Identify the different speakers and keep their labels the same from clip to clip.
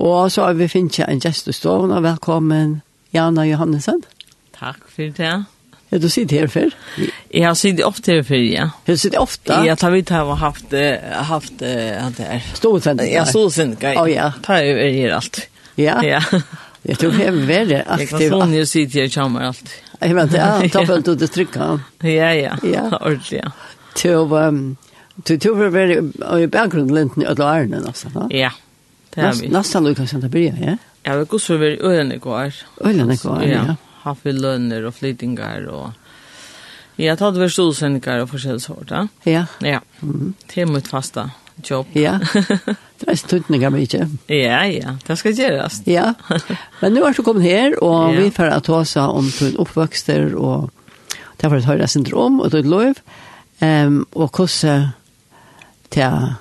Speaker 1: Og så har vi finnet en gjest i stoven, og velkommen Jana Johannesen.
Speaker 2: Takk for det.
Speaker 1: Er du sitter her før?
Speaker 2: Jeg har sittet ofte her før, ja.
Speaker 1: Har du sittet ofte?
Speaker 2: Jeg tar vidt her og haft, eh, haft, eh, hatt det her.
Speaker 1: Storutvendig.
Speaker 2: Jeg så sin gøy.
Speaker 1: Å, ja.
Speaker 2: Ta jo er her alt.
Speaker 1: Ja,
Speaker 2: Ja.
Speaker 1: jeg tror jeg er veldig
Speaker 2: Jeg kan
Speaker 1: Ah. aktiv.
Speaker 2: sånn jo sitte her og kjammer alt.
Speaker 1: Jeg vet, ja, da følte du det trykket.
Speaker 2: Ja, ja.
Speaker 1: Ja.
Speaker 2: Ordentlig, ja.
Speaker 1: Til å... um, Du tror vi er veldig i bakgrunnen linten i alle ærene, nesten. da.
Speaker 2: Ja. Det er
Speaker 1: Nas-
Speaker 2: vi.
Speaker 1: Nesten du kan sende bryr, ja?
Speaker 2: Jeg vet hvordan vi er ørene går.
Speaker 1: Øyland er kvar, ja.
Speaker 2: Haft vi lønner og flyttinger og... Jeg har tatt vært solsendinger og forskjellsort, ja.
Speaker 1: Ja,
Speaker 2: Ja.
Speaker 1: Mhm.
Speaker 2: Det er mitt fasta jobb.
Speaker 1: ja. Det er stundninger mye.
Speaker 2: Ja, ja. Det skal gjøres.
Speaker 1: Ja, men nu er du kommet her, og
Speaker 2: Ja.
Speaker 1: vi får ta oss om din oppvokster, um og det har vært høyre syndrom og ditt liv, um, og hvordan det er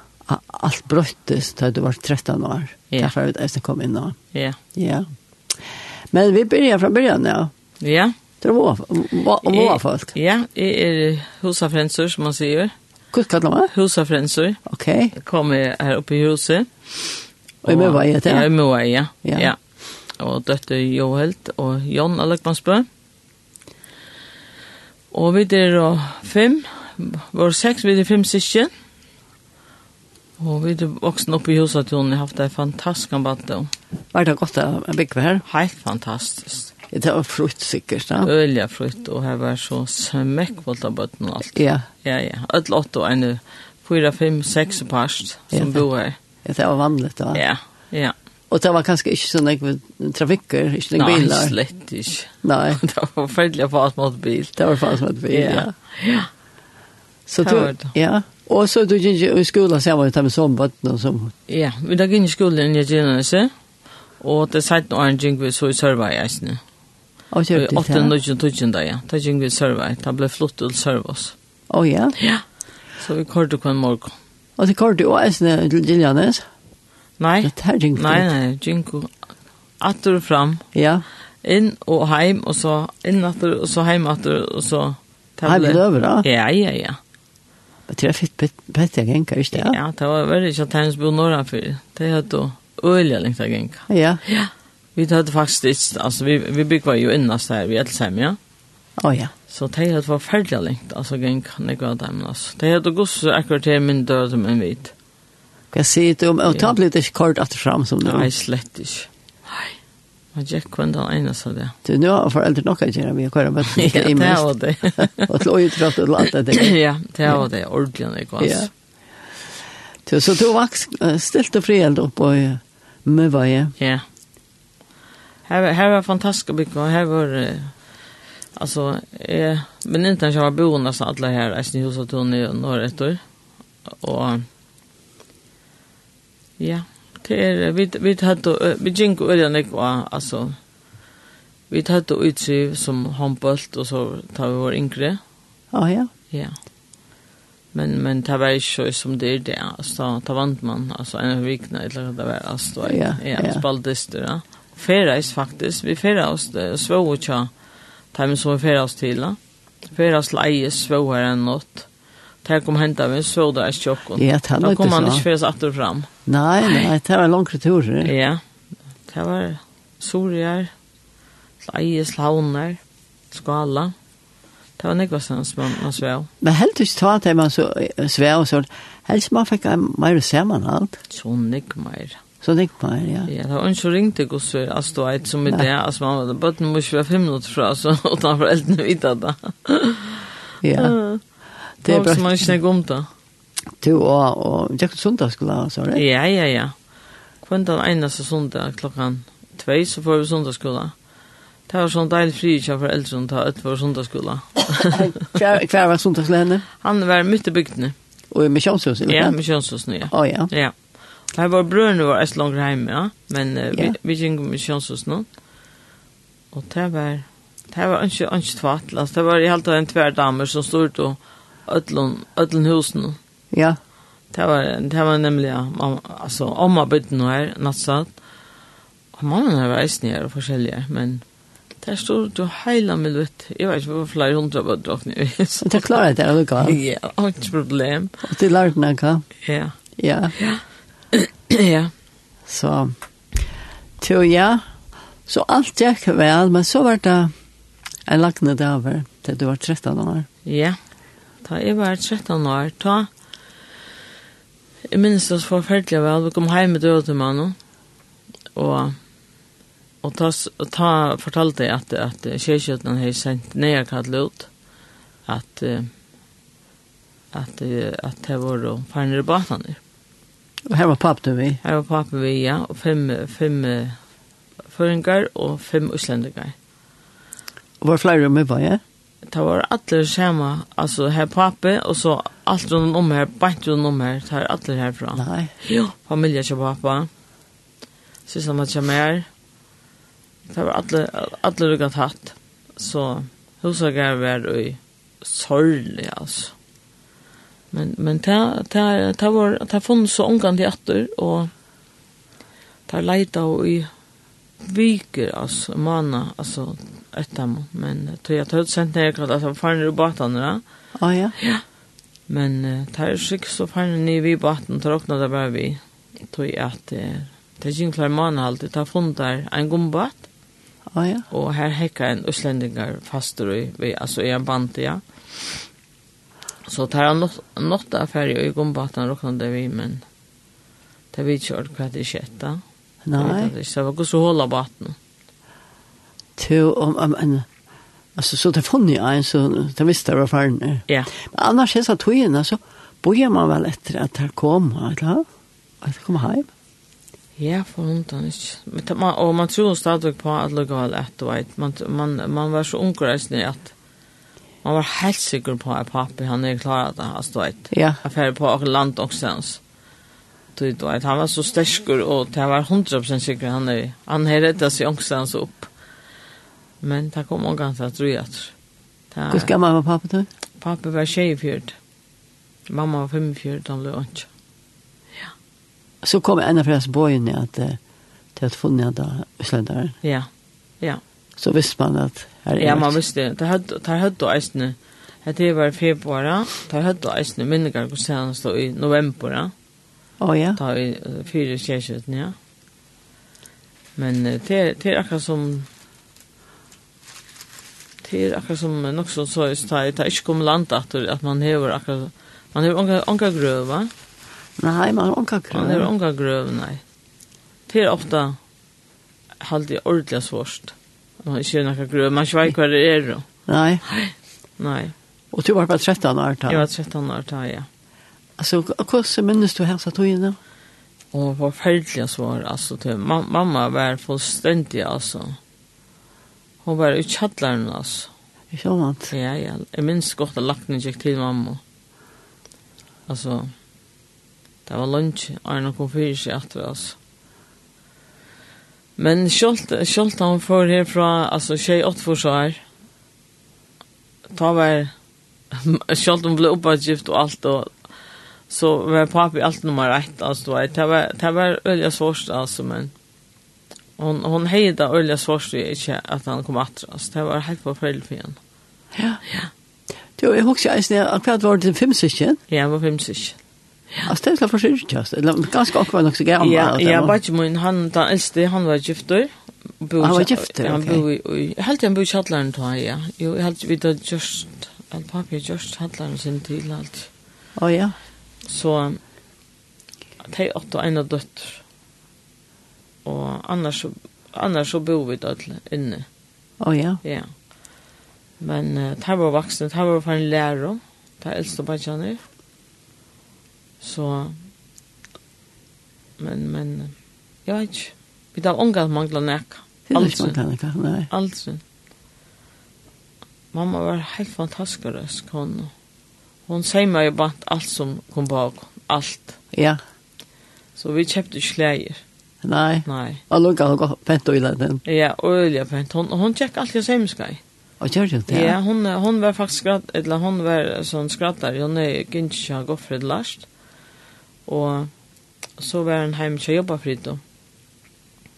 Speaker 1: alt brøttes da du var 13 år.
Speaker 2: Ja.
Speaker 1: Ja. Derfor har vi nesten kommet inn nå.
Speaker 2: Ja.
Speaker 1: Ja. Men vi begynner fra begynnelsen, ja.
Speaker 2: Ja.
Speaker 1: Det var
Speaker 2: Eh,
Speaker 1: våre folk.
Speaker 2: er- Ja, jeg er husafrenser, som man sier.
Speaker 1: Hvordan kan det være?
Speaker 2: Husafrenser.
Speaker 1: Ok,
Speaker 2: Jeg kommer her oppe i huset.
Speaker 1: og i møver er
Speaker 2: Ja, i
Speaker 1: det.
Speaker 2: Møvei, ja.
Speaker 1: Ja.
Speaker 2: ja. ja. Og døtte Johelt og Jon Alekmansbø. Og vi er og fem, var seks, vi er fem syskjen. Og vi er voksne oppe i huset til hun har haft en fantastisk batte.
Speaker 1: Var det godt å bygge her?
Speaker 2: Helt fantastisk.
Speaker 1: Det var frukt sikkert, da.
Speaker 2: Ølja frukt, og her var så smekkvolt av bøtten og alt.
Speaker 1: Ja,
Speaker 2: Ja, ja. Ødel åtte og en fyra, fem, seks parst
Speaker 1: Ja,
Speaker 2: som
Speaker 1: det-
Speaker 2: bor her.
Speaker 1: det var Er vanligt, da.
Speaker 2: Ja, ja.
Speaker 1: Og det var kanskje ikke sånn jeg trafikker, ikke noen
Speaker 2: Nei,
Speaker 1: er bilar.
Speaker 2: slett ikke.
Speaker 1: Nei,
Speaker 2: Det var forferdelig å få alt mot bil.
Speaker 1: det var faen som et bil, ja.
Speaker 2: Ja, ja.
Speaker 1: Så
Speaker 2: det
Speaker 1: du,
Speaker 2: var det.
Speaker 1: ja. Og så du gikk i skolen, så jeg var ute med sommerbatten og sånn.
Speaker 2: Ja, vi dag inn i skolen i Gjenese, og det er sett noen åren gikk vi så i Sørvei i Eisene.
Speaker 1: Og
Speaker 2: I
Speaker 1: kjørte
Speaker 2: 8.
Speaker 1: til det.
Speaker 2: 19. da, ja. Da gikk vi i Sørvei. Da ble flott til Sørvås.
Speaker 1: Å ja.
Speaker 2: Ja. Så vi kort hver morgen.
Speaker 1: Og så kjørte du også ned til Giljanes.
Speaker 2: Nei,
Speaker 1: Det er her gikk du.
Speaker 2: nei, nei, gikk vi atter og fram,
Speaker 1: Ja,
Speaker 2: inn og heim, og så inn atter, og så heim atter, og så... det
Speaker 1: her
Speaker 2: ble-
Speaker 1: ble det over da.
Speaker 2: Ja, ja, ja.
Speaker 1: Men det er fitt pett jeg gikk, ikke det?
Speaker 2: Ja, det var veldig ikke at hennes bo nordenfor. Det hadde jo øyelig lengt av genka.
Speaker 1: Ja.
Speaker 2: Ja. Vi hadde faktisk ikke, altså vi, vi bygde jo innast her, vi Elsheim, ja.
Speaker 1: Å ja.
Speaker 2: Så det hadde forferdelig lengt, altså genka, nekva av dem, altså. Det hadde gått så akkurat til min død som en hvit.
Speaker 1: Hva sier du om? Og ta litt ikke kort at fram som nå.
Speaker 2: Nei, slett ikke. Nei. Man gikk kvendt den eneste av det.
Speaker 1: Du, nå har foreldre nok å gjøre mye å kjøre med.
Speaker 2: Ja, det er var det.
Speaker 1: Og til å utrådte og alt det der.
Speaker 2: Ja, det var det, ordentlig nekva,
Speaker 1: Ja.
Speaker 2: altså.
Speaker 1: Så, så du var stilt og eh, frihet opp og møvaje.
Speaker 2: Ja. Här var- här var fantastiska byggnader. Här var eh, alltså eh men inte ens jag var boende nästan alla här i Snöhuset och i Norrätter. Och ja, det är vi vi hade vi gick och den var alltså vi hade utsev som handbollt och så tar vi vår yngre.
Speaker 1: Ja, ja.
Speaker 2: Ja. Men men det var ju så som det är det. Alltså ta vant man alltså en vikna eller vad det var alltså då.
Speaker 1: Ja,
Speaker 2: Ja,
Speaker 1: ja.
Speaker 2: ja. spaldister. Ja. Fera is faktiskt. eh, Vi fera oss det svå och tja. Ta mig så fera oss till. ja. Fera oss leje svå här en natt. Det här kom hända vi svå där i tjockon.
Speaker 1: Ja, det här
Speaker 2: Då
Speaker 1: låter
Speaker 2: kom man
Speaker 1: så.
Speaker 2: inte fera sig att och fram.
Speaker 1: Nei, nei, det var langre turer.
Speaker 2: Ja. Det var sorgar. Leje slaunar. Skala. Det var nekvastans man, man svå.
Speaker 1: Men helt ikke ta til man så eh, svær og sånn. Helst man fikk en mer sammen alt.
Speaker 2: Så nekvastans.
Speaker 1: Så det gikk mer, ja.
Speaker 2: Ja, det var ikke ringt det gos for, altså du vet som i
Speaker 1: Nei.
Speaker 2: det, er altså man var bøtten må ikke være fem minutter fra, så utan foreldrene vite det.
Speaker 1: Ja,
Speaker 2: Det
Speaker 1: det
Speaker 2: er
Speaker 1: er
Speaker 2: bra. Man
Speaker 1: bra.
Speaker 2: ikke snakker om det.
Speaker 1: Du og, og Jakob Sundag skulle ha, sa du?
Speaker 2: Ja, ja, ja. Kvendt den eneste sondag klokkan tvei, så får vi sondagsskola. Det var sånn deilig fri ikke for eldre som tar ut for sondagsskola.
Speaker 1: Hver hver var Sundag skulle henne?
Speaker 2: Han var midt i bygdene,
Speaker 1: Og i Misjonshuset?
Speaker 2: ja, med kjønnsåsene, ja.
Speaker 1: Å ja.
Speaker 2: Ja. Og Her var brødrene våre etter langt hjemme, ja. Men eh,
Speaker 1: Ja.
Speaker 2: vi, vi gikk med kjønnsåsene. Og det var, det var ikke, ikke tvatt, altså. Det var i hele tatt en tvær damer som stod ut og ødlen, ødlen husene.
Speaker 1: Ja,
Speaker 2: Det var, det var nemlig, ja, mamma, altså, omma bøtten nå her, nattsatt. Og mannen her var eisen her og forskjellige, men der stod du heila med lutt. Jeg vet ikke, det var flere hundra bøtter åkne.
Speaker 1: så det klarer jeg er det allikevel.
Speaker 2: Ja, ikke problem.
Speaker 1: Og til lærte henne hva?
Speaker 2: Ja,
Speaker 1: Ja,
Speaker 2: ja.
Speaker 1: så... Så ja, så alt gikk vel, men så var det en lagnet over til du var 13 år.
Speaker 2: Ja. Da jeg var 13 år, da jeg minnes det så forferdelig vel, vi kom hjem med døde til mannen, og og ta, ta fortalte jeg at, at kjøkjøttene har sendt nedkattel ut, at eh, at eh, at det var å færne i batene.
Speaker 1: Og her var papp du vi.
Speaker 2: Her var pappa vi, ja, og fem, fem eh, føringer og fem uslendinger.
Speaker 1: Og var flere med på, ja?
Speaker 2: Det var alle skjema, altså her pappa, og så alt rundt om her, bant rundt om her, tar alle herfra.
Speaker 1: Nei.
Speaker 2: Jo, familie til pappa. Sysla med til mer. Det var alle, alle du kan tatt. Så huset jeg var i sorglig, altså. Men, men det, det, det var, det har funnet så omgang til atter, og det har leita og i viker, altså, mana, altså, etter dem. Men tog jeg tøtt sendt ned, at jeg fann i batene, ja.
Speaker 1: Å ja.
Speaker 2: Men uh, det er sikkert så fann ni vi på atten, det råkna det bare vi. Tog at eh, det er ikke klar måned alltid, det funnet der en gombat,
Speaker 1: Å ja.
Speaker 2: og her hekka en uslendingar faster i, vi, altså i en band, ja. Så det er nått affæri i gombaten råkna det vi, men det vi kjørt hva det skjetta.
Speaker 1: Nei.
Speaker 2: Det var gos å hålla baten.
Speaker 1: Til om, om en... Alltså så det fann jag en så det visste jag var faren. Men
Speaker 2: Ja,
Speaker 1: annars är så att tojerna så bojar man väl efter att det kom, eller? Att det kom hem.
Speaker 2: ja, for hundan ikke. Men det- man- Og man tror stadig på at lukka vel et og et. Man, man, man var så ungereisende at man var helt sikker på at pappi han er klar at han stod et.
Speaker 1: Ja.
Speaker 2: Jeg færre på akkurat land også hans. Du vet, han var så sterkur og det var 100% sikker han er. Han har reddet seg også hans opp. Men det kom også hans at tror jeg
Speaker 1: Hur
Speaker 2: at.
Speaker 1: ska mamma och pappa då?
Speaker 2: Pappi var tjej i fjord. Mamma var fem i fjord, han ble ikke.
Speaker 1: Så kom en av deras bojen att eh, till att funna där sländaren.
Speaker 2: Ja.
Speaker 1: Så visste man er att här är
Speaker 2: Ja,
Speaker 1: ett.
Speaker 2: man visste det. Det har høyt og eisne. Det var i februar. Det har høyt og eisne minnegar hvor sen stod i november. Ja.
Speaker 1: Å ja.
Speaker 2: ta i eh, fyra kjærkjøtten, ja. Men eh, det er- det er akkurat som det er akkurat som eh, nok så så just ta det er ikke kom land at at man hever akkurat man hever onka onka grøv, va?
Speaker 1: Nej, man har onka
Speaker 2: Man hever
Speaker 1: krav.
Speaker 2: onka grøv, nei. Det er ofte halde ordentlig svårt. Man har ikke noen grøv, man svei hva det er. og-
Speaker 1: Nej.
Speaker 2: Nei,
Speaker 1: Och du var bara 13 år då.
Speaker 2: jeg var
Speaker 1: Ja.
Speaker 2: 13 år da, ja.
Speaker 1: Alltså, hur minns du hälsa tojerna?
Speaker 2: Og forferdelig svar, altså, til ma mamma var fullstendig, altså. Hun var i kjallaren, altså.
Speaker 1: I sånt.
Speaker 2: Ja, ja, jeg minns godt at lagt gikk til mamma. Altså, det var lunsj, Arne kom fyrir seg etter, altså. Men sjølt, sjølt han får herfra, altså, tjej åttforsar, ta var, sjølt hun ble oppadgift og alt, og så var papi alt nummer ett, altså, du vet, det var, det var ølja svårst, altså, men hon, hon heida ølja svårst, ikke at han kom etter, altså, det var helt forferdelig for henne.
Speaker 1: Ja. Ja. Du, jag husker ens när jag kvart var det fem stycken.
Speaker 2: Ja, jeg var fem stykker.
Speaker 1: Alltså det er är för syrkast. Eller ganska akkurat också gammal.
Speaker 2: Ja, ja, bare min, han, den eldste, han var gifter. Bo,
Speaker 1: Han var gifter,
Speaker 2: ja,
Speaker 1: ok.
Speaker 2: bo i- i- Jeg held han bo i kjallaren til han, ja. Jo, jeg held vi da just, all papi just er kjallaren sin til alt.
Speaker 1: Å ja.
Speaker 2: Så, de åtte og ene døtter. Og annars, så- annars så bo vi da inne,
Speaker 1: Å ja.
Speaker 2: ja. Men uh, de var voksne, de var for en lærer, de eldste bare Så, men, men, jeg vet ikke. Vi tar unga at mangla nek.
Speaker 1: Det er är inte
Speaker 2: Aldri.
Speaker 1: man kan inte. Nej.
Speaker 2: Aldri. Mamma var helt fantastisk røsk. Hon, hon sier meg jo bant alt som kom bak. Alt.
Speaker 1: Ja.
Speaker 2: Så vi kjøpte ikke klæger.
Speaker 1: Nej.
Speaker 2: Nei.
Speaker 1: Och lugga och gå pent och illa den.
Speaker 2: Ja, øyelig pent. Hon, hon tjekk alltid hos hjemmeskei.
Speaker 1: Och gör ju
Speaker 2: Ja,
Speaker 1: det. Ja.
Speaker 2: hon, hon var faktisk skratt, eller hon var sånn skrattar, hon er gynnskja Goffred Larst, og så var hon heim til jobba frito.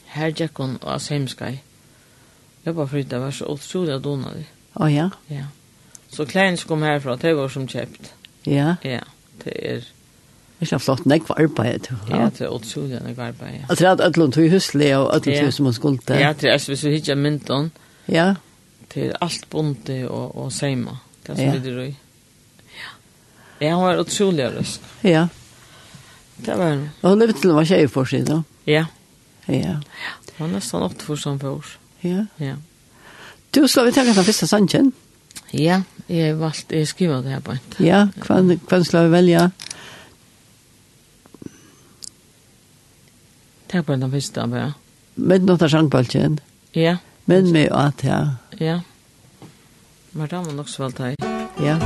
Speaker 2: Her gikk hon av Seimskai. Jobba frito var så utrolig donadig.
Speaker 1: Å ja.
Speaker 2: Ja. Så klein som kom herfra, det var som kjøpt.
Speaker 1: Ja.
Speaker 2: Ja, det er,
Speaker 1: ikke flott, nek var arbeid.
Speaker 2: Ja, det er utrolig enn jeg arbeid, ja.
Speaker 1: Og det er at ødlund tog huslig og ødlund
Speaker 2: Ja.
Speaker 1: tog som hun skulle.
Speaker 2: Ja, det er altså, hvis vi hittar mynton
Speaker 1: Ja,
Speaker 2: til alt bonte og, og seima. Det er
Speaker 1: Ja.
Speaker 2: så vidt røy. Ja. Ja, hun var utrolig røst.
Speaker 1: ja.
Speaker 2: Det var hun.
Speaker 1: Og hun levde til hun var tjej for seg da.
Speaker 2: Ja,
Speaker 1: Ja,
Speaker 2: hun var nesten åtte for som på år.
Speaker 1: ja.
Speaker 2: Ja.
Speaker 1: Du, så vi tenker den første sangen.
Speaker 2: Ja, jeg valgte, jeg skriver det her på en.
Speaker 1: Ja, hvem, hvem skal vi velge?
Speaker 2: Det er på en av første, ja.
Speaker 1: Men nåt av sangbalken.
Speaker 2: Ja,
Speaker 1: Men med at, ja.
Speaker 2: ja. Men da var nok så valgt her.
Speaker 1: Ja.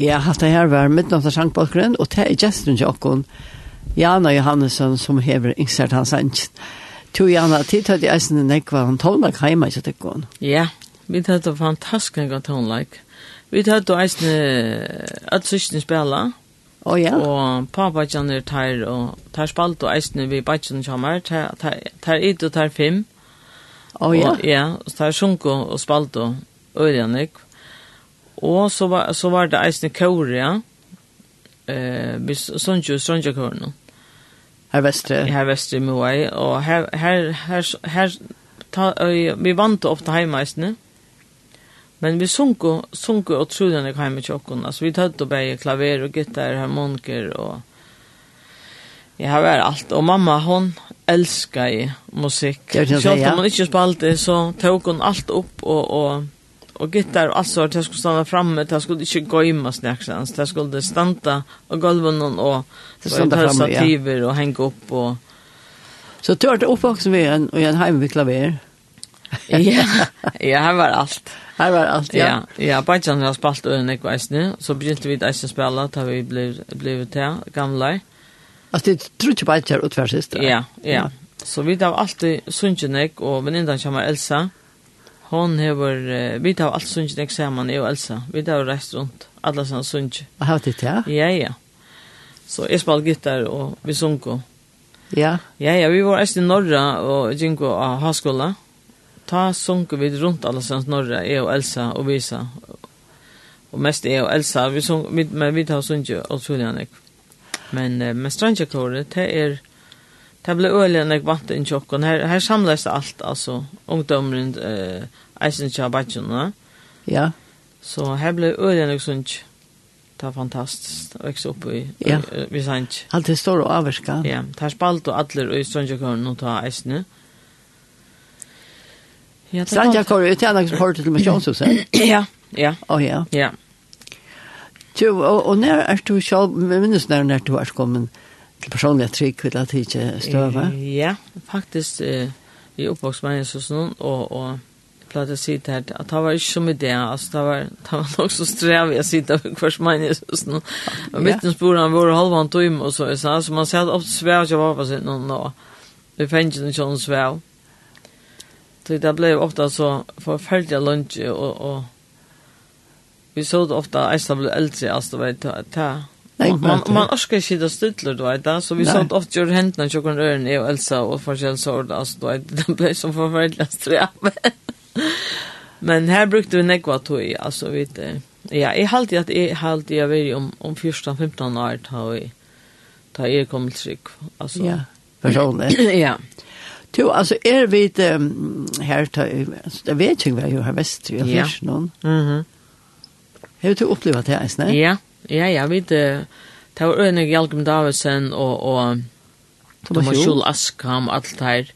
Speaker 1: Ja, haft det her var midnatt av sangbalkeren, og det er gesten til okken, Jana Johannesson, som hever innsert hans sangen. To Jana, tid hadde jeg eisen en ekva, han tålna heima ikke til okken.
Speaker 2: Ja, vi tatt det fantastisk en god tonelike. Vi tatt det eisne, at søsken spela,
Speaker 1: Å ja,
Speaker 2: og pappa kjenner tar, og tar spalt og eisne vi bætjen kommer, tar tar- tar it og tar fem,
Speaker 1: å ja,
Speaker 2: og, ja, og tar sjunk og og spalt og øyne, og så var, så var det eisne kåre, ja, eh, vi sønnsjø, sønnsjø kåre nå.
Speaker 1: her vestre.
Speaker 2: her vestre i Moai, og her, her, her, her ta, øy, vi vant ofte heimeisene, men vi sunko, sunko og trudene jeg heime tjokken, altså vi tøtt og beie klaver og gitar, harmoniker og ja, her var alt, og mamma hun elsker i musikk,
Speaker 1: Det er det jeg
Speaker 2: selv
Speaker 1: sier, ja.
Speaker 2: om hun ikke spalte, så tok hun alt opp og, og og gitar og alt så at jeg skulle standa framme, jeg skulle ikke gøyma snaksans, jeg skulle standa og gulven og
Speaker 1: Standa
Speaker 2: ta
Speaker 1: framme, ja.
Speaker 2: stativer og henge opp og
Speaker 1: Så du har vært oppvoksen ved en, og en heim ved klaver.
Speaker 2: ja, ja, her var alt.
Speaker 1: Her var alt, ja.
Speaker 2: Ja, ja, Bajan har spalt øren ikke veisne, så begynte vi eisen spela, da vi ble, ble til gamle.
Speaker 1: Altså, du tror ikke bare ikke og tverrsistre.
Speaker 2: Ja, ja. Så vi har alltid sunnjenek, og vennindan kommer Elsa. Hon hever, eh, vi har alltid sunnjenek sammen, jeg og Elsa. Vi har reist rundt, alle sånne sunnje.
Speaker 1: Og her til, ja.
Speaker 2: Ja, ja. Så jeg spalt gitar, og vi sunko.
Speaker 1: Ja,
Speaker 2: Ja, ja, vi var eisen i Norra, og Jinko av Haskola. Ta sunko vi rundt alle sånne Norra, jeg og Elsa og Visa. Og mest jeg og Elsa, vi sunk, vi, men vi tar sunko og Julianek. Men eh, med Stranjakloret, det er, det ble øyelig enn jeg vant inn tjokken. Her, her samles alt, altså, ungdomren, eh, eisen tjabatjona.
Speaker 1: ja.
Speaker 2: Så her ble øyelig enn jeg sunko. Det var fantastisk å vekse opp i,
Speaker 1: Ja.
Speaker 2: i, i, i Sancho.
Speaker 1: Alt det står og avverska.
Speaker 2: Ja, tar spalt og allir og i strøndjakøren og ta eisne. Ja, det
Speaker 1: Strandja
Speaker 2: var-
Speaker 1: kor ut gärna som hör till missionshuset.
Speaker 2: Ja, ja,
Speaker 1: Åh ja.
Speaker 2: ja.
Speaker 1: Du, og, og når er du selv, men minnes når er du er kommet til personlige trygg, vil at ikke støve?
Speaker 2: Eh, Ja, faktisk eh, i oppvokst med Jesus noen, og, og jeg pleide å si det her, at det var ikke som idé, altså det var, det var nok så strevig å si det med hver som med Jesus noen. Og midten spore han vår halvann tøym og så, så, så man sier at ofte svev ikke var på sin noen, og vi fengte den ikke noen svev. Så det ble ofte så forferdelig lunsje, og, og vi så det ofte, jeg ble eldre, altså det var det, det
Speaker 1: Nei,
Speaker 2: Man, man,
Speaker 1: men-
Speaker 2: man orskar ikke det stutler, du vet, da, så vi
Speaker 1: Nei.
Speaker 2: sånt ofte gjør hendene tjokken øren, jeg og Elsa, og forskjell sår, altså, du vet, det ble så forferdelig strøm. Men her brukte vi nekva tog, altså, vi, eh, ja, jeg halte at jeg halte jeg var om, om 14-15 år, da vi, da jeg kom til trygg, altså.
Speaker 1: Ja, personlig.
Speaker 2: ja.
Speaker 1: Du, altså, er vi det, um, her, ta, altså, det vet jeg hva jeg har vest, vi har
Speaker 2: Ja.
Speaker 1: først noen. Mm-hmm.
Speaker 2: Mhm.
Speaker 1: Har du opplevd det, Eisne?
Speaker 2: Ja, ja, ja, vi, det, det var Øyne Gjalkum Davidsen, og, og, Thomas Kjol Askam, alt her.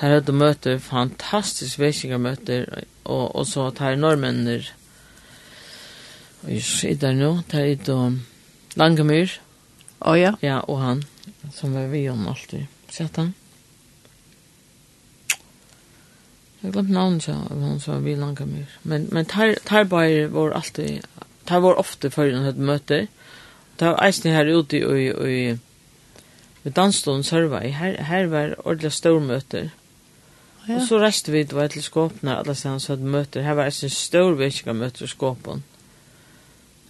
Speaker 2: Der hadde møter, fantastisk vesinger møter, og, og så tar normennir. Og jeg sitter nå, der er det um, Langemyr,
Speaker 1: Å ja,
Speaker 2: ja, og han, som var vi om alltid. Sett han. Jeg glemt navnet ja, av han som var vi i Langemyr. Men, men tar, tar bare var alltid, tar var ofte før han hadde møter. Det var eisen her ute i, i, i Vi dansstånd serva i, her, her var ordentlig stormøter.
Speaker 1: Ja.
Speaker 2: Ja. Og så reiste vi, det var til skåpene, alle stedene som hadde møter. Her var eisen storvirkega møter i skåpen.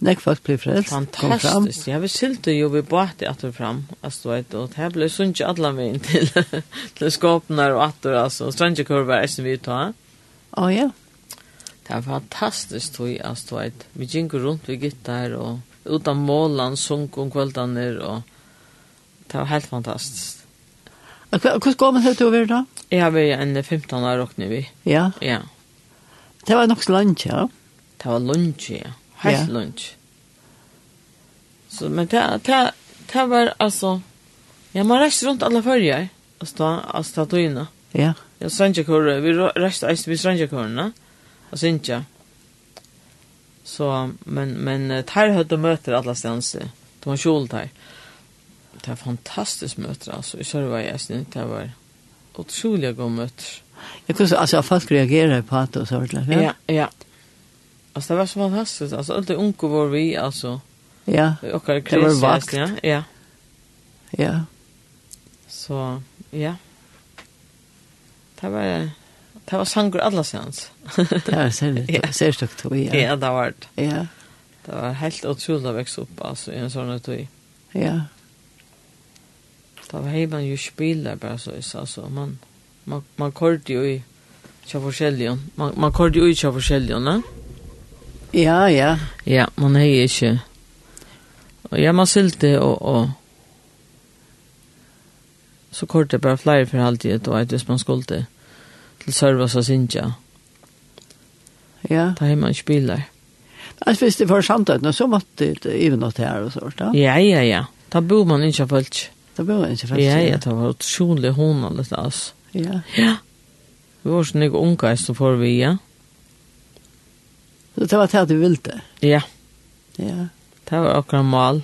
Speaker 1: nek folk blir frelst. kom fram.
Speaker 2: Fantastisk. Ja, vi sylte jo, vi båte atter fram, altså, du vet, og her ble sunt ikke alle veien til, til skåpene og atter, altså, og strandjekur var eisen vi ta.
Speaker 1: Å ja,
Speaker 2: Det var fantastisk, tog, altså, du vet, vi gikk rundt, vi gitt der, og utan målan, sunk om kveldene, um og det var helt fantastisk.
Speaker 1: Og hva- hvordan går man til du over da?
Speaker 2: Jeg har vært en 15 år råkne vi,
Speaker 1: Ja,
Speaker 2: ja.
Speaker 1: det var nok så langt, ja.
Speaker 2: Det var lunch, ja. Helt
Speaker 1: Ja.
Speaker 2: lunch. Så, men det, det, det var altså... Ja, man reiste rundt alle følger. Altså, da, altså, da togene.
Speaker 1: Ja,
Speaker 2: Ja, Sanjakore, vi ra- reiste eist vi Sanjakorene. Og Sintja. Så, men, men, eh, der høyde møter alle stedens. eh, Det var kjol der. Det var fantastisk møter, altså. I Sørvei, jeg synes det var utrolig gode møter.
Speaker 1: jeg kunne så, altså, folk reagerer på det og så, ordentlig,
Speaker 2: Ja, ja. ja. Alltså det var så fantastiskt. Alltså allt det unko var vi alltså.
Speaker 1: Ja,
Speaker 2: Och det
Speaker 1: Det var vakt.
Speaker 2: Ja, ja.
Speaker 1: ja.
Speaker 2: Så ja. Det var det var sangur alla sens.
Speaker 1: Det er særlig,
Speaker 2: Ja.
Speaker 1: særlig tog,
Speaker 2: Ja,
Speaker 1: ja.
Speaker 2: det var
Speaker 1: Ja,
Speaker 2: det var helt otroligt att växa upp alltså i en sån här tid.
Speaker 1: ja.
Speaker 2: Det var hej man ju spelar bara så så alltså man man man körde ju i tja forskjellion. Man man körde ju i tja forskjellion, ne?
Speaker 1: Ja, ja.
Speaker 2: Ja, man hei ikke. Og ja, man sylte og, og så kort er det bare flere for halvtid, og at hvis man skulle til- til Sørvas og Sintja,
Speaker 1: Ja.
Speaker 2: da har man ikke biler.
Speaker 1: Alltså visst det var samtidigt och så måtte det även något här och sånt. Ja.
Speaker 2: Ja, ja, ja. Da bor man ikke på alt.
Speaker 1: Det var inte fast.
Speaker 2: Ja, ja, det var utrolig hånallet, altså.
Speaker 1: Ja.
Speaker 2: Ja. Vi var sånn ikke unge, så får vi, ja.
Speaker 1: Så det var det att du ville.
Speaker 2: Ja,
Speaker 1: Ja.
Speaker 2: det var akkurat mal.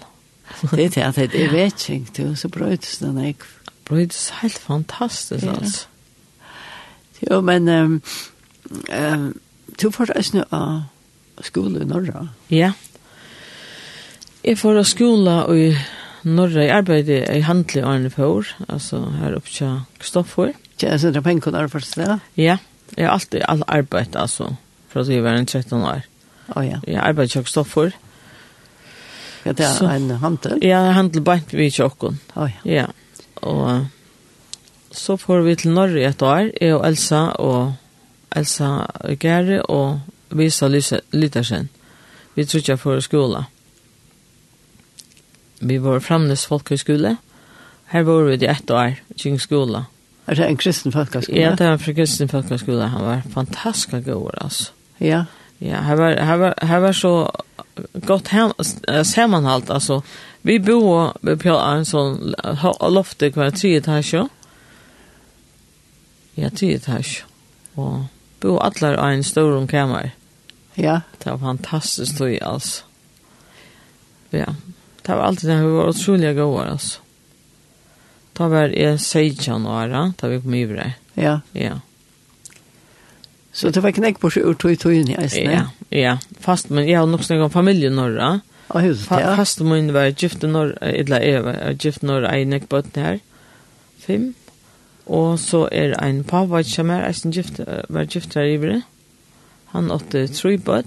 Speaker 1: Det är det att det är vetching till så bröts den er jag.
Speaker 2: Det var helt fantastisk,
Speaker 1: Ja.
Speaker 2: altså.
Speaker 1: Jo men ehm ehm du får det snö av skolan norra.
Speaker 2: Ja. Jeg får av skola og i Norra, jeg arbeider i handel i Arne Fjord, altså her oppe til Kristoffer.
Speaker 1: Ja, så det er pengar där först där.
Speaker 2: Ja, jeg har alltid all arbeid, altså, fra at jeg var en 13 år.
Speaker 1: Ja ja.
Speaker 2: Jeg arbeider til Kristoffer.
Speaker 1: Ja, det
Speaker 2: Så-
Speaker 1: är en hantel.
Speaker 2: Jeg har handel bant vi til åkken,
Speaker 1: Ja ja.
Speaker 2: ja. Og eh, så får vi til Norra i et år, jeg og Elsa og Elsa Gere og Visa Lyse- Lytersen. Vi tror ikke jeg får skola. Vi var framnes folkhøyskole. Her var vi i ett år, kring skola.
Speaker 1: Är Er det en kristen folkskola?
Speaker 2: Ja, det var fra Kristin folkhøyskole. Han var fantastisk god, altså.
Speaker 1: Ja.
Speaker 2: Ja, her var, her var, her var så godt hem, eh, sammenhalt, altså. Vi bor på en sånn ho- loftet hver tre etasje. Ja, tre etasje. Og bo allar av en stor kammer.
Speaker 1: Ja,
Speaker 2: Det var fantastiskt tog i alls. Ja, det var alltid det vi var otroliga goa alltså. Det var jag 16 år, det vi kom i det.
Speaker 1: ja.
Speaker 2: Ja,
Speaker 1: Så det var knäck på sig ur tog i tog in i eisen.
Speaker 2: ja, ja. Fast men jag har nog snakkat om familjen um norra.
Speaker 1: Og huset,
Speaker 2: Fa
Speaker 1: ja.
Speaker 2: Fast min var gift norra, eller jag var gift norra i Nekbøtten her. Fem. Og så er en pappa som er eisen gift, eh, var gift her i Ivre. Han åtte tre bøtt.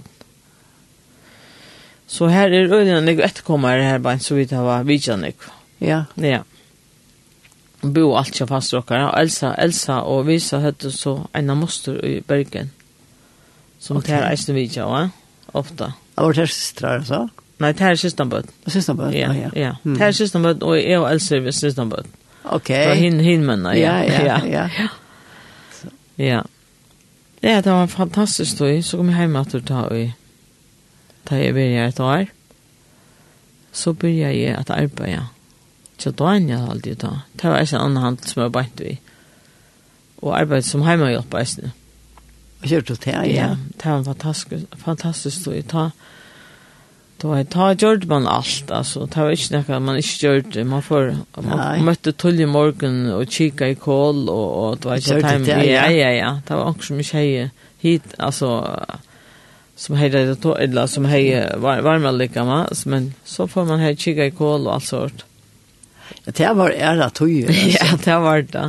Speaker 2: Så her er øyne jeg etterkommer her bare så vidt jeg var vidtjende.
Speaker 1: Ja,
Speaker 2: Ja. Bo alt ikke fast dere. Og Elsa, Elsa og Visa hette så en av moster i Bergen. Som
Speaker 1: Ok.
Speaker 2: okay. tar eisen vidtjende, ofte.
Speaker 1: og vårt her systrar, altså.
Speaker 2: Nei, det er siste bøtt.
Speaker 1: Og siste bare,
Speaker 2: Ja,
Speaker 1: ja.
Speaker 2: ja.
Speaker 1: Mm.
Speaker 2: Det er siste bøtt, og jeg og Elsa er siste bøtt.
Speaker 1: Ok.
Speaker 2: Fra hin, hin mennene,
Speaker 1: Ja, ja, ja.
Speaker 2: Ja. Ja, det var en fantastisk tog. Så kom jeg hjem at du tar i Da jeg begynte et år. Så begynte jeg at arbeide. Så da er jeg alltid da. Det var en annen handel som jeg bare i. Og arbeid som hjemmehjelp er det.
Speaker 1: Og kjørt du til, ja.
Speaker 2: Det var en fantastisk, fantastisk tog. Ta, Da var ta gjorde man alt, altså. Det var ikke noe man ikke gjorde. Man, får, man
Speaker 1: Nei.
Speaker 2: møtte tull i morgen og kikka i kål, og, og det var ikke
Speaker 1: Gjorde
Speaker 2: time.
Speaker 1: det, ja.
Speaker 2: ja, ja, ja. Det var noen som ikke hei hit, altså, som hei det to, eller som hei var, varme lika, men så får man hei kikka i kål og alt sånt.
Speaker 1: Det var æra tog,
Speaker 2: Ja,
Speaker 1: altså.
Speaker 2: det var det.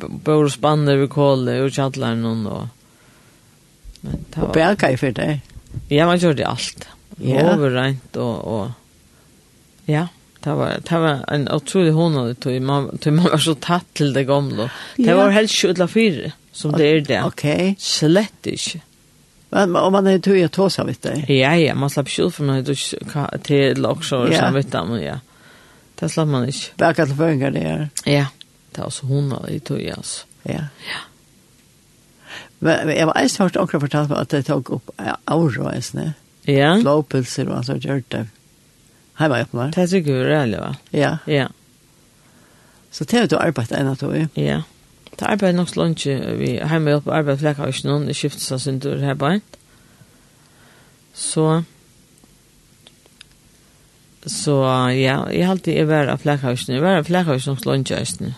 Speaker 2: B- Bor og spanner ved kålet, og kjattler noen, og... Men det
Speaker 1: Og
Speaker 2: var...
Speaker 1: bæka i for det.
Speaker 2: Ja, man gjorde alt.
Speaker 1: Ja.
Speaker 2: Ja. Overrent og, og... Ja, det var, det var en utrolig hånad tog man, tog man var så tatt til det gamle. Det
Speaker 1: Ja.
Speaker 2: var helst ikke utla fire, som det er det.
Speaker 1: Ok.
Speaker 2: Slett ikke.
Speaker 1: Men om man er tog i tog, så vet jeg.
Speaker 2: Ja, ja, man slapp ikke ut for man hadde ikke ka- til også og
Speaker 1: Ja.
Speaker 2: samvittet, men ja. Det slapp man ikke.
Speaker 1: Bæka til føringer, det er.
Speaker 2: Ja, det var så hånad i tog, altså.
Speaker 1: Ja. Men men jeg var eisen hørt akkurat fortalt meg at jeg tok opp eh, aura eisen.
Speaker 2: Ja,
Speaker 1: Blåpulser og altså gjør det. Hei var jeg på meg.
Speaker 2: det tykker vi er ærlig, va?
Speaker 1: Ja.
Speaker 2: Ja,
Speaker 1: Så det er jo du arbeidet en av tog i.
Speaker 2: ja. Det arbeidet nok så langt ikke. Vi har med hjelp arbeid for leker ikke noen. Det skiftes av sin tur her bare. Så... Så ja, jeg har alltid vært av flekkhavsene. Jeg var av flekkhavsene hos lønnsjøsene.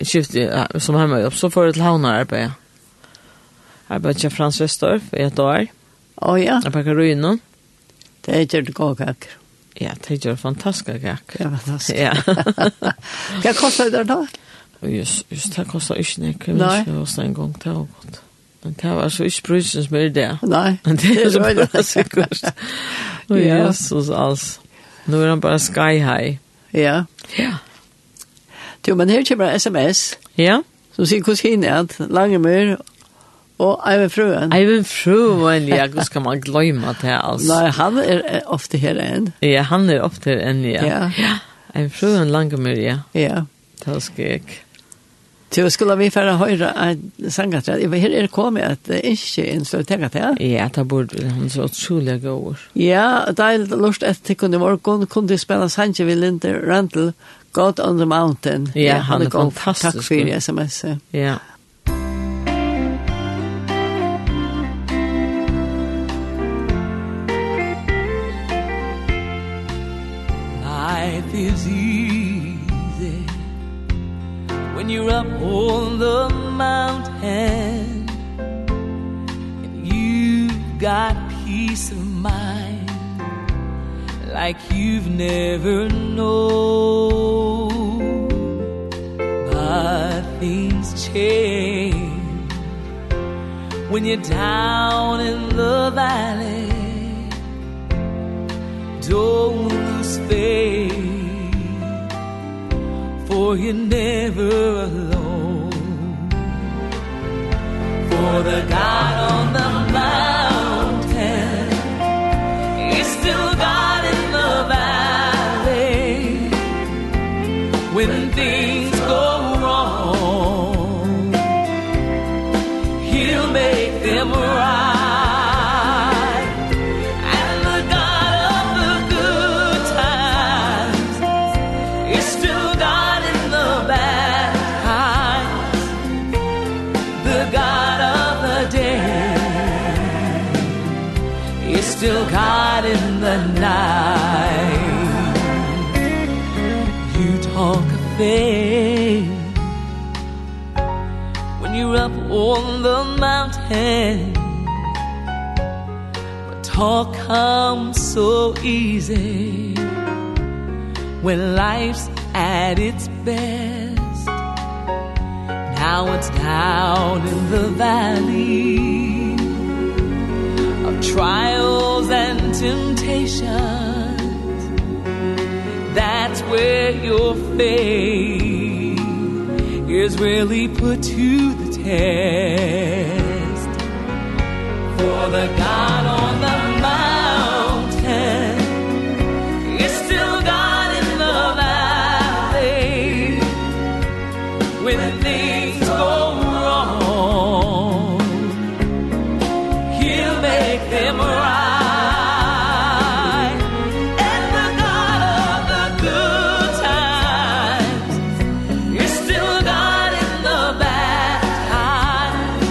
Speaker 2: Jeg skiftet ja, som hjemme jobb, så får jeg til havner arbeid. Arbeid til Frans Vestorf i et år.
Speaker 1: Å ja,
Speaker 2: Jeg pakker ruinen.
Speaker 1: det er gjør det godt kaker.
Speaker 2: Ja, er det gjør fantastiske kakk.
Speaker 1: Det er fantastisk.
Speaker 2: Ja.
Speaker 1: Hva kostet det da?
Speaker 2: Og just, just det kostar ikke nek, jeg
Speaker 1: Nei.
Speaker 2: vet ikke hos en gang til og godt. Men det var så ikke brusen som er det.
Speaker 1: Nei.
Speaker 2: Men det er så
Speaker 1: røyde.
Speaker 2: bra sikkert. Og
Speaker 1: Ja.
Speaker 2: Jesus, altså. Nå er han bare sky high.
Speaker 1: Ja.
Speaker 2: Ja.
Speaker 1: Jo, men her kommer en sms
Speaker 2: Ja,
Speaker 1: som sier hvordan kine er at Langemyr og Eivind Frøen.
Speaker 2: Eivind Fruen, ja, hvordan skal man glemme det, altså?
Speaker 1: Nei, han er eh, ofte her enn.
Speaker 2: Ja, han er opp til en, ja.
Speaker 1: Ja.
Speaker 2: Eivind Fruen langer mer, ja.
Speaker 1: Ja.
Speaker 2: Det skal jeg.
Speaker 1: Så skulle vi fære høyre en sangatræd. Her er det kommet at det ikke er en større tega til.
Speaker 2: Ja, det burde vi. Han er så utrolig god.
Speaker 1: Ja, det er lort etter tikkun i morgen. Kunne du spille Sanje ved Linder Randall, God on the Mountain.
Speaker 2: Ja, han er
Speaker 1: god.
Speaker 2: fantastisk
Speaker 1: Takk for
Speaker 2: god.
Speaker 1: sms-et.
Speaker 2: Ja.
Speaker 3: Life is easy when you're up on the mountain and you've got peace of mind like you've never known. But things change when you're down in the valley. Don't lose faith For you're never alone For the God on the mountain Is still God in the valley When things go wrong He'll make them right And the God of the good times is still God in the bad times. The God of the on the mountain But talk comes so easy When life's at its best Now it's down in the valley Of trials and temptations That's where your faith is really put to the test. For the God on the mountain is still God in the valley. When things go wrong, He'll make them right. And the God of the good times is still God in the bad times.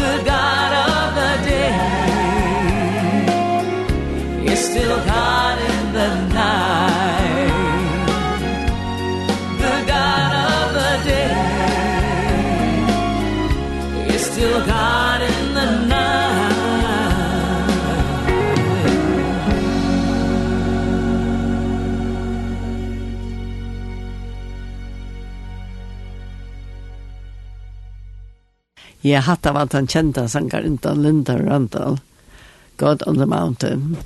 Speaker 3: The God of the day is still God in the night. The God of the day is still God in the night.
Speaker 1: Jeg hatt av at han kjente sangeren Intan Linda Randall, God on the Mountain.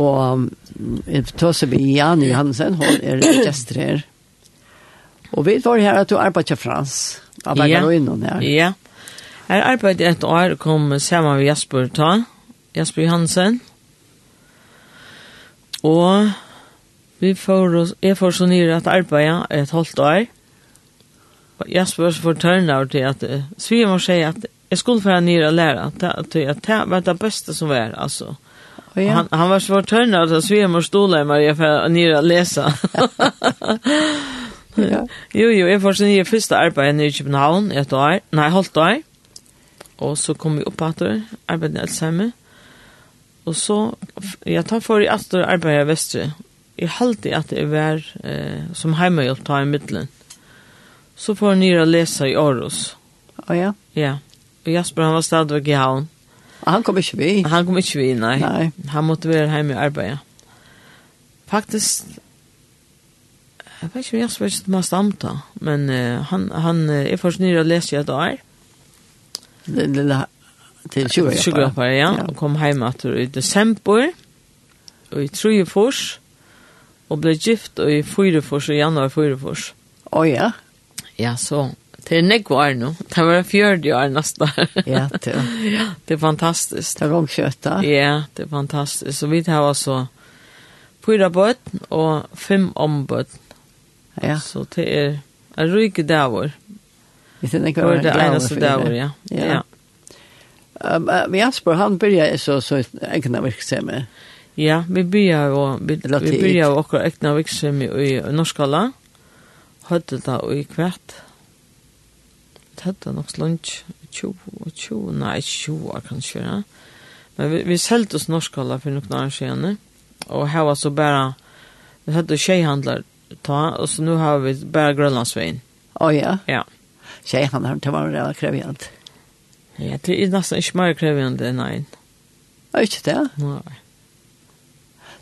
Speaker 1: Og mm, jeg tog seg med Jan Johansen, hun er gestre her. Og vi var her at du arbeider til Frans, av
Speaker 2: Ja.
Speaker 1: Bergaroinen her.
Speaker 2: Ja. Her arbeidde jeg et år, kom sammen med Jasper Ta, Jasper Johansen. Og vi får, oss- jeg får så nyere at arbeide et halvt år. Og Jasper får tørne over til at, eh, Sviger må si at jeg skulle få nyere å lære, at det, at det var det beste som var, altså.
Speaker 1: Og
Speaker 2: Och
Speaker 1: ja,
Speaker 2: Han, han var så törnad att hans svemor stod där Maria för att nere att läsa.
Speaker 1: ja.
Speaker 2: jo, jo, jag får sin nya första arbete i Köpenhamn ett år, nej, halvt år. Och så kom vi upp att arbeta i Alzheimer. Och så, jag tar för i att arbeta i Västre. Jag har alltid att det var eh, som hemma jag tar i mittlen. Så får jag nere att läsa i Aros.
Speaker 1: Og ja.
Speaker 2: Ja, och Jasper han var stadigvæk i havn.
Speaker 1: Og han kom ikke vi.
Speaker 2: Han kom ikke vi, nei.
Speaker 1: Nei.
Speaker 2: Han måtte være hjemme og arbeide. Faktisk, jeg vet ikke om Jasper ikke man stamta, men eh, han, han eh, er først nyere å lese i et år.
Speaker 1: Lille, lille, til 20 år.
Speaker 2: Sjukkerhjelpere, ja.
Speaker 1: Ja.
Speaker 2: Og kom hjemme etter i desember, og i Trujefors, og ble gift og i Fyrefors, og i januar Fyrefors.
Speaker 1: Å ja,
Speaker 2: Ja, så, det er nekva år nå. Det var fjørde år nesten.
Speaker 1: ja, til.
Speaker 2: det er fantastisk.
Speaker 1: Ta gong kjøtta.
Speaker 2: Ja, det er fantastisk. Så vi har altså fyra bøtten og fem ombøtten.
Speaker 1: Ja,
Speaker 2: Så det er en ryke dævor.
Speaker 1: vi tenker ikke
Speaker 2: Det
Speaker 1: hva
Speaker 2: var det
Speaker 1: glad
Speaker 2: eneste
Speaker 1: for
Speaker 2: dævor, ja.
Speaker 1: Ja.
Speaker 2: Ja,
Speaker 1: Um, um, Jasper, han började så, så egna verksamhet.
Speaker 2: ja vi byrja jo, vi,
Speaker 1: Det låter
Speaker 2: vi byrja jo okra ekna viksum i, i Norskala. Hødde da og i kvart. Hødde nok slunch 20, 20, nei, 20 år kanskje, ja. Men vi, vi selte oss Norskala for noen år siden. eh? Og her var så bare, vi hadde tjejhandlar ta, og så nå har vi bare Grønlandsveien.
Speaker 1: Å ja,
Speaker 2: Ja.
Speaker 1: tjej han har inte varit redan krävjant.
Speaker 2: Ja, det er nesten ikke mer krevende enn en.
Speaker 1: Ja, inte det.
Speaker 2: Nei.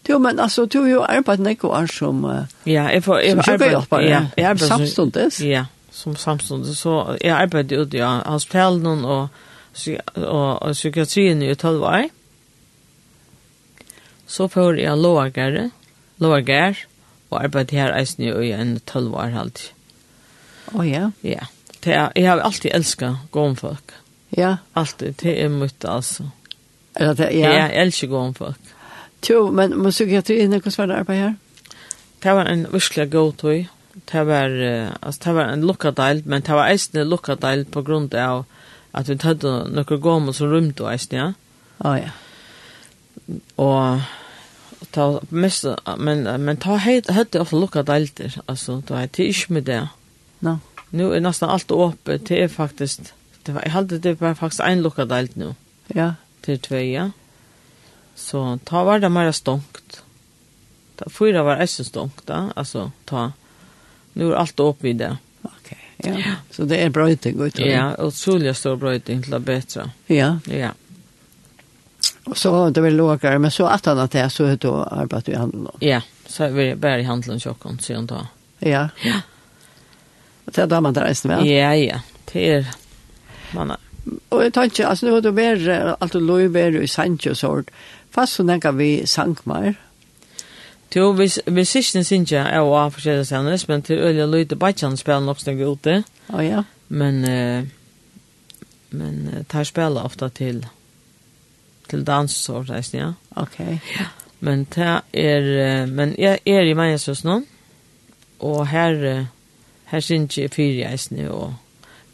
Speaker 1: Jo, men alltså, du har ju arbetat några år som uh,
Speaker 2: Ja, jeg får jeg
Speaker 1: Som
Speaker 2: arbeid-
Speaker 1: sjukehjälpare?
Speaker 2: Ja, jeg arbeid som-
Speaker 1: Samstundes?
Speaker 2: Ja, som samstundes. Så jeg arbeidde ute i hospitalen og, psy- og, og psykiatrien i 12 år. Så får jeg lovgare, lovgare, og arbeidde her eisen i en 12 år halvt.
Speaker 1: Å ja,
Speaker 2: Ja, det er, jeg har alltid elsket gåenfolk.
Speaker 1: ja.
Speaker 2: Alltid, det er mye, altså.
Speaker 1: Eller det,
Speaker 2: Ja.
Speaker 1: ja.
Speaker 2: Jeg elsker gåenfolk.
Speaker 1: Jo, men men psykiatri er är något svårt att arbeta här.
Speaker 2: Det var en virkelig god tøy. Det var, eh, altså, det var en lukka del, men det var eisne lukka del på grunn av at vi tødde noen gommel som rymte eisne, ja.
Speaker 1: Å ja.
Speaker 2: Og ta mest, men, men ta heit, høyde ofte lukka delter, altså, det var det er ikke med det.
Speaker 1: No.
Speaker 2: Nå er nesten alt åpent, det er faktisk, det var, jeg halte det var faktisk en lukka delt nå,
Speaker 1: Ja.
Speaker 2: til tve, er ja. Så ta var det mer stonkt. Ta, fyra var eisne stonkt, da, altså, ta, nå er alt åpent i det.
Speaker 1: Okej. Ja. Så det er är bröjting ut.
Speaker 2: Ja, otroligt stor bröjting till det bättre.
Speaker 1: Ja.
Speaker 2: Ja.
Speaker 1: Och så har det väl lågare, men så att han att det er så hur då arbetar i handeln. då.
Speaker 2: Ja, så är vi bara i handeln tjockon, säger hon då.
Speaker 1: Ja.
Speaker 2: Ja.
Speaker 1: Och det är där man där resten väl.
Speaker 2: Ja, ja. Det är... Man är...
Speaker 1: Och jag tänker, alltså nu har du mer, allt du låg mer i Sancho sort. Fast så tänker vi sankmar.
Speaker 2: Jo, vi vi sisten syns jag är av förskilda sänders, men till öliga lite bachan spelar nog snägg ute.
Speaker 1: Ja, ja.
Speaker 2: Men eh, men eh, tar spelar ofta till till dans så där ja.
Speaker 1: Okej.
Speaker 2: Men det är eh, men jag är i mig så snart. Och här eh, här syns jag fyra is nu och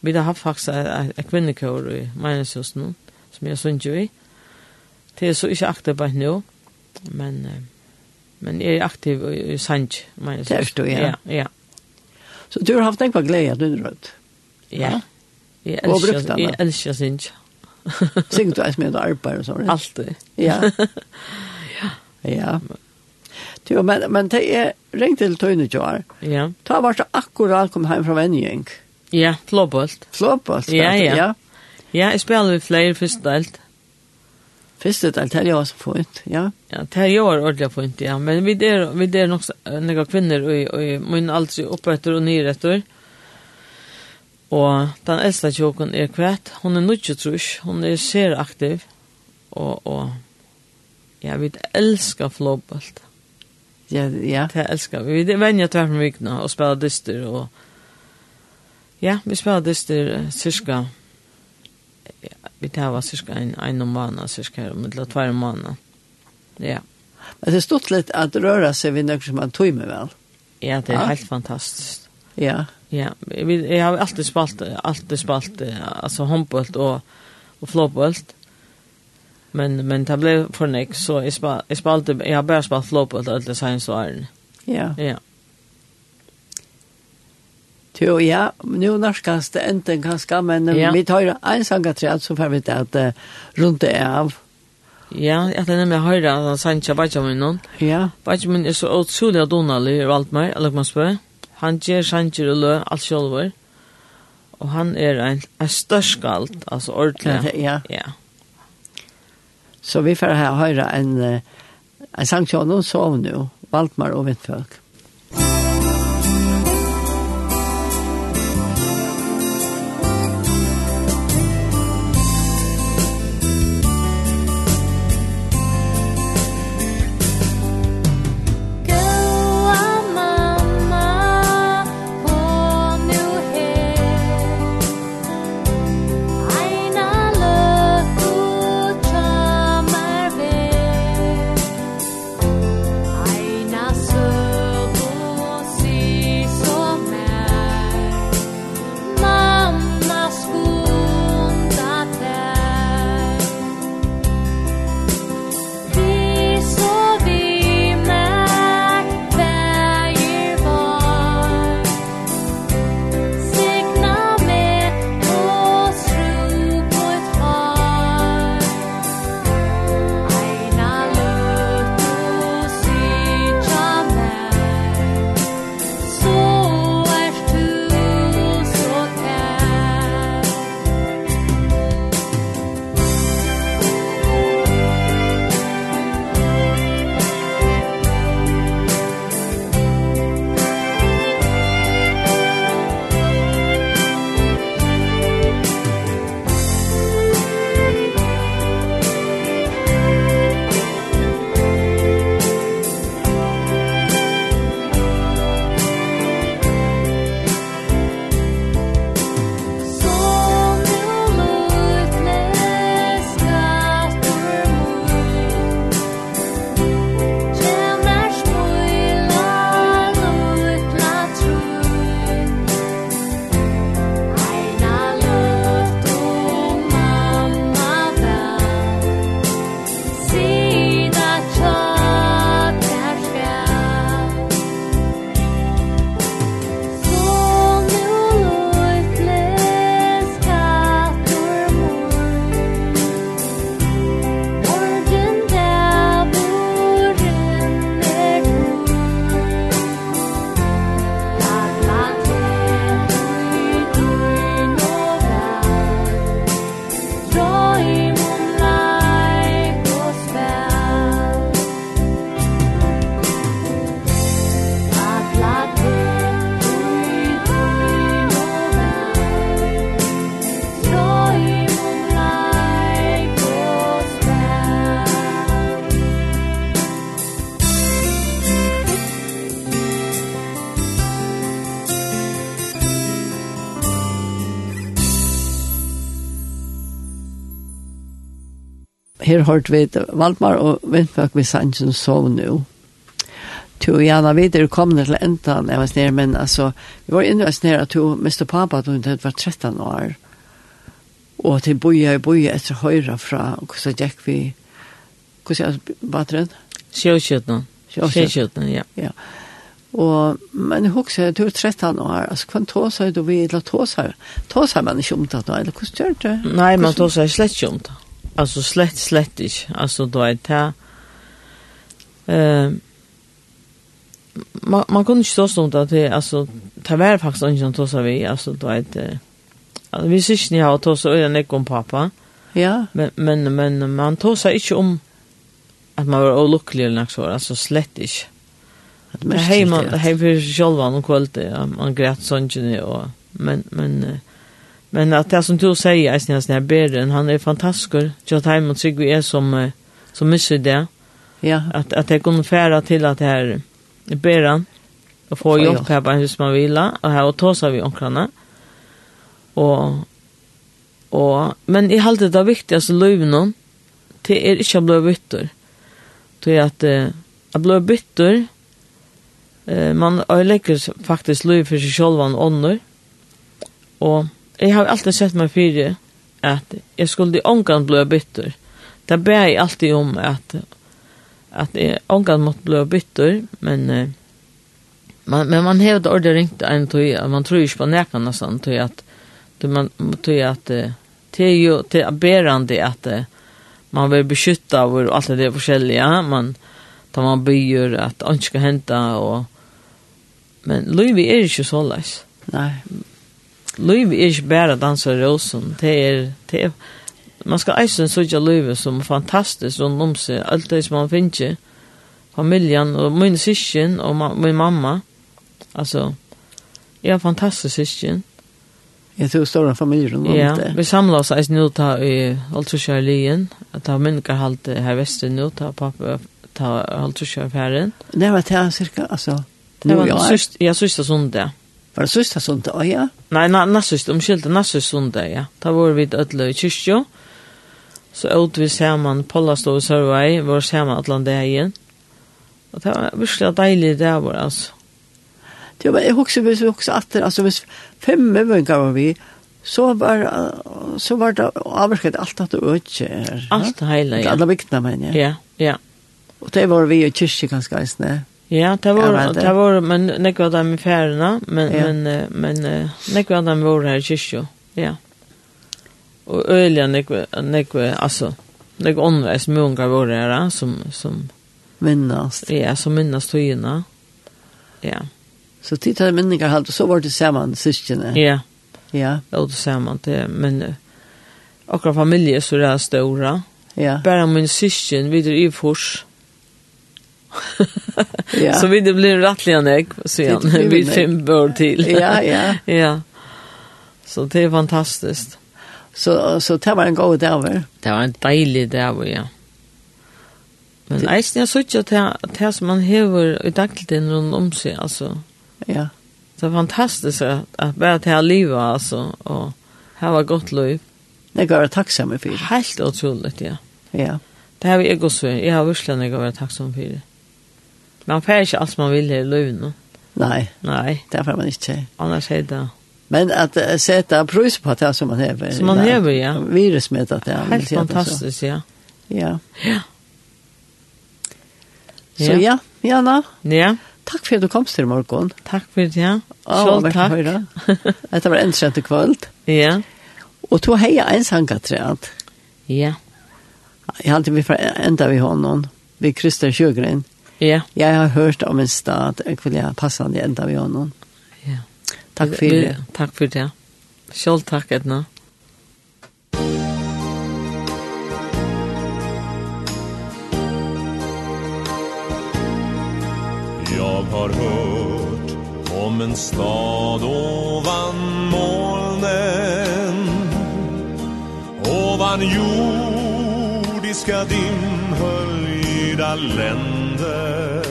Speaker 2: vi har haft faktiskt en kvinnekår i mig så snart som jag syns ju i. Det är så inte aktivt bara nu. Men eh, men är aktiv i, i Sanj, mig
Speaker 1: Det förstår jag.
Speaker 2: Ja, ja.
Speaker 1: Så du har haft en kvar glädje att du rött.
Speaker 2: Ja. Jag
Speaker 1: Och brukt
Speaker 2: älskar,
Speaker 1: alla.
Speaker 2: jag älskar Sinch.
Speaker 1: Sing du ens med arbete och så. rätt?
Speaker 2: Alltid.
Speaker 1: Ja. Ja. Jo, men, men det är ringt till Tøynetjår.
Speaker 2: Ja.
Speaker 1: Ta vart det akkurat kom hem från Venjeng.
Speaker 2: Ja, flåbolt.
Speaker 1: Flåpost.
Speaker 2: Ja, ja. Ja, jeg spiller vi flere første delt.
Speaker 1: Første del, det er jeg som får ut. Ja,
Speaker 2: Ja, det her gjør ordentlig fint, ja. Men er- vi der, vi der nok noen kvinner, og, og min aldri oppretter og nyretter. Og den eldste tjokken er kvæt. Hun er nødt trus. Hun er ser aktiv. Og, og ja, vi elsker flåbolt.
Speaker 1: ja, ja.
Speaker 2: Det elskar er vi. Vi vänjer tvär från vikna och spelar dyster och ja, vi spelar dyster eh, cirka ja, vi tar var cirka en, en om månad cirka här, mittla tvär om månad. Ja,
Speaker 1: Men det er stort litt at røre seg vid noe som man tog med vel.
Speaker 2: ja det är
Speaker 1: Ja.
Speaker 2: helt fantastiskt.
Speaker 1: Ja,
Speaker 2: Ja, vi, jag har alltid spalt, alltid spalt eh, alltså handboll och, och flåboll. Men, men det blev för nek, så jag, spal, jag, spalte, jag har bara spalt flåboll alla senaste åren.
Speaker 1: ja.
Speaker 2: Ja,
Speaker 1: Jo, ja, nu norskast det enten ganske, men eh,
Speaker 2: Ja.
Speaker 1: vi tar en sangatræt, så får vi det at eh, rundt det av.
Speaker 2: ja jag hade nämligen höra att han sanns jag vet om innan.
Speaker 1: Ja,
Speaker 2: Bæði minn er så utrolig donalig og alt meir, eller man spør. Han gjør sanger og lø, alt sjølver. Og han er en, en størskalt, altså ordentlig.
Speaker 1: ja. ja.
Speaker 2: Ja,
Speaker 1: Så vi får her høre en, eh, en sang til noen sov nå, Valtmar og Vindfølk.
Speaker 4: Goa mamma, kom nu hem Aina lökut tramar väg Aina söl
Speaker 1: her hørt vi Valdmar og Vindføk vi sannsyn sov nå. To gjerne vi er kommet til enda når jeg var sned, men altså, vi var inne og sned at to miste pappa da hun var 13 år. Og til boja i boja etter høyre fra, og så gikk vi, hvordan er bateren?
Speaker 2: Sjøkjøttene. Sjøkjøttene, ja.
Speaker 1: Ja. Og, men jeg husker, du er 13 år, altså, hvordan tåser du vi, eller tåser, tåser man ikke om det nå, eller hvordan gjør du det?
Speaker 2: Nei, man tar seg slett ikke om det. Altså slett, slett ikke. Altså da er det uh, man, man kunne ikke ta seg om det til, er, altså, det var faktisk ikke som tar seg vi, altså da er det Altså, vi synes ikke jeg har tåst øyne ikke om um pappa,
Speaker 1: Ja,
Speaker 2: men, men, men man tåst seg ikke om at man var ulykkelig eller noe sånt, altså slett ikke.
Speaker 1: det
Speaker 2: Det hei man hei för själva någon kväll det um ja, man grät sånt ju och men men eh, men att det som du säger är snäll snäll Beren han är fantastisk jag tar emot sig vi är som eh, som missar det
Speaker 1: Ja,
Speaker 2: att att det kommer färra till att här Beren och få
Speaker 1: Få
Speaker 2: jobb
Speaker 1: jobb.
Speaker 2: här på hus man vill och här och ta sig vi onkrarna och och men i allt det viktigaste löven någon till er inte bli bitter. Det är att eh, att bli bitter eh, man ödelägger faktiskt liv för sig själva och ånder. Och jag har alltid sett mig för det att jag skulle i ångan bli bitter. Det ber jag alltid om att att jag ångan måste bli bitter men eh, man, men man har det ordet ringt en tog att man tror ju inte på näkan nästan tog att tog man tog att eh, det är ju det är berande att eh, man vill beskytta och allt det där forskjelliga man tar man byr att inte ska hända och men Louis är ju så läs.
Speaker 1: nei,
Speaker 2: Louis är ju er bara dansa rosen. Det är det är er- man ska eisen söka Louis som fantastiskt um runt om sig allt det som man finner familjen och min syskon och ma min mamma. Alltså jag har fantastisk syskon.
Speaker 1: jeg tror stora familjer rundt om
Speaker 2: Ja,
Speaker 1: det.
Speaker 2: vi samlar oss eisen nu ta i Altrusjärlien att ha minkar halt här väster nu ta pappa ta Altrusjärfären.
Speaker 1: Det var det cirka, altså,
Speaker 2: Det
Speaker 1: nu
Speaker 2: var
Speaker 1: i år.
Speaker 2: sist jag sista söndag.
Speaker 1: Var det sista sånt, å ja,
Speaker 2: Nei, na, nassist, omkylde nassist sundag, ja. Da var vi ødla i kyrkjo. Så åt vi saman Pollastov og Sørvei, var saman atlan dagen. Og det var virkelig deilig det var, altså.
Speaker 1: det var, jeg husker hvis vi husker atter, altså hvis fem møvengar var vi, så var, uh, så var det avvirket alt at det økje her.
Speaker 2: Alt det heila,
Speaker 1: Ja.
Speaker 2: ja.
Speaker 1: Alla vikna men ja.
Speaker 2: Ja, ja.
Speaker 1: Och det var vi i kyrkje ganska isne.
Speaker 2: Ja, det
Speaker 1: Ja,
Speaker 2: var,
Speaker 1: men det-
Speaker 2: det var, men nekva av dem i færena, men,
Speaker 1: Ja.
Speaker 2: men, eh, men eh, nekva av dem var her i kyrkjo, ja. Og øyla nekva, nekva, altså, nekva åndveis munga var her, ja, som, som,
Speaker 1: Minnast.
Speaker 2: ja, som minnas tøyina. Ja,
Speaker 1: Så tid hade minningar halt och så var det samman syskene.
Speaker 2: ja.
Speaker 1: Ja,
Speaker 2: åt samman det men eh, er och familje så där stora
Speaker 1: ja.
Speaker 2: bara min syskon vid i fors
Speaker 1: Ja.
Speaker 2: så vi det blir rättligen jag så
Speaker 1: Det
Speaker 2: igen
Speaker 1: blir
Speaker 2: vi
Speaker 1: en ägg.
Speaker 2: fem bör till
Speaker 1: Ja, ja.
Speaker 2: ja så det är fantastiskt
Speaker 1: Så så det var en god dag väl.
Speaker 2: det var en deilig dag var ja men er det... eisen jag såg att det, det som man hever i dagtiden runt om sig alltså
Speaker 1: Ja.
Speaker 2: um det är fantastiskt att, att bara det här livet alltså och här var gott liv
Speaker 1: Det går jag tacksam för.
Speaker 2: helt otroligt ja
Speaker 1: Ja.
Speaker 2: Det här är jag också. Jag har vurslat när jag var tacksam för det. Man får inte allt man vill i livet nu.
Speaker 1: Nej,
Speaker 2: Nej,
Speaker 1: det får man inte.
Speaker 2: annars är det
Speaker 1: Men att eh, sätta pris på det som man häver.
Speaker 2: Som man häver, ja.
Speaker 1: Virusmätat det. man
Speaker 2: helt
Speaker 1: ser det så.
Speaker 2: fantastiskt, ja.
Speaker 1: Ja. Så
Speaker 2: Ja.
Speaker 1: ja, Jana,
Speaker 2: Ja,
Speaker 1: tack för att du kom till morgon.
Speaker 2: tack för det, ja.
Speaker 1: Ja,
Speaker 2: Själv
Speaker 1: verkligen
Speaker 2: tack.
Speaker 1: höra. Detta var en skönt kväll.
Speaker 2: Ja,
Speaker 1: Och då heja en sangaträd.
Speaker 2: ja,
Speaker 1: Jag hade vi fra- enda vi honom. Vi Christer Sjögren.
Speaker 2: ja.
Speaker 1: Jag har hört om en stad. Jag vill jag passa det enda vi honom.
Speaker 2: Ja.
Speaker 1: Tack för
Speaker 2: Vi-
Speaker 1: det.
Speaker 2: Tack för det. Själv tack, Edna.
Speaker 5: Jag har hört om en stad ovan molnen Ovan jordiska dimhöljda länder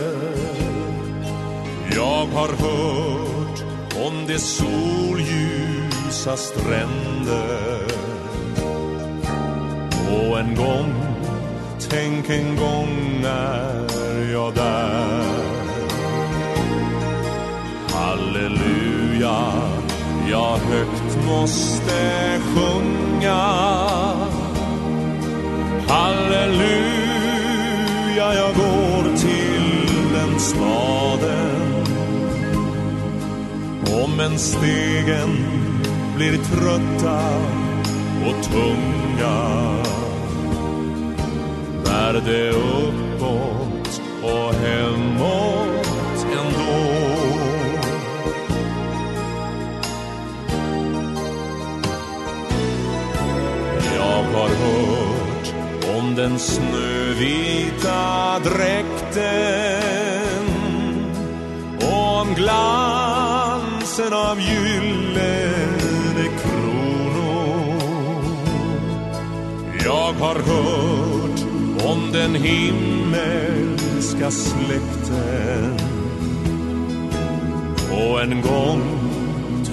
Speaker 5: Jag har hört om de solljusa stränder Och en gång tänk en gång när jag där Halleluja jag högt måste sjunga Halleluja jag går till den staden Om en stegen blir trötta och tunga Bär det uppåt och hemåt ändå Jag har hört om den snövita dräkten och om glansen av gyllene kronor Jag har hört om den himmelska släkten Och en gång,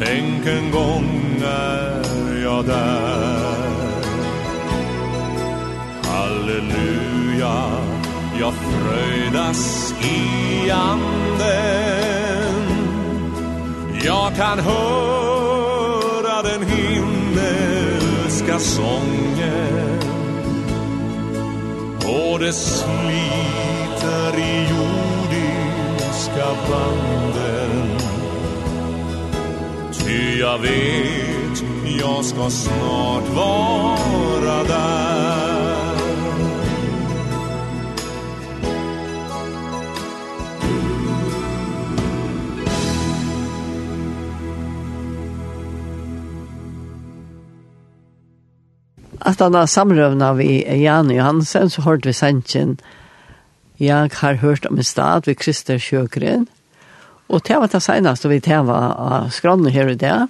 Speaker 5: tänk en gång är jag där Halleluja, jag fröjdas i anden Jag kan höra den himmelska sången Och det sliter i jordiska banden Ty jag vet, jag ska snart vara där
Speaker 1: Att han har samrövna vi Jan Johansen så hörde vi sanchen. Jag har hört om en stad vid Krister Sjögren. Och det var det senaste vi tävade av skronnen här och där.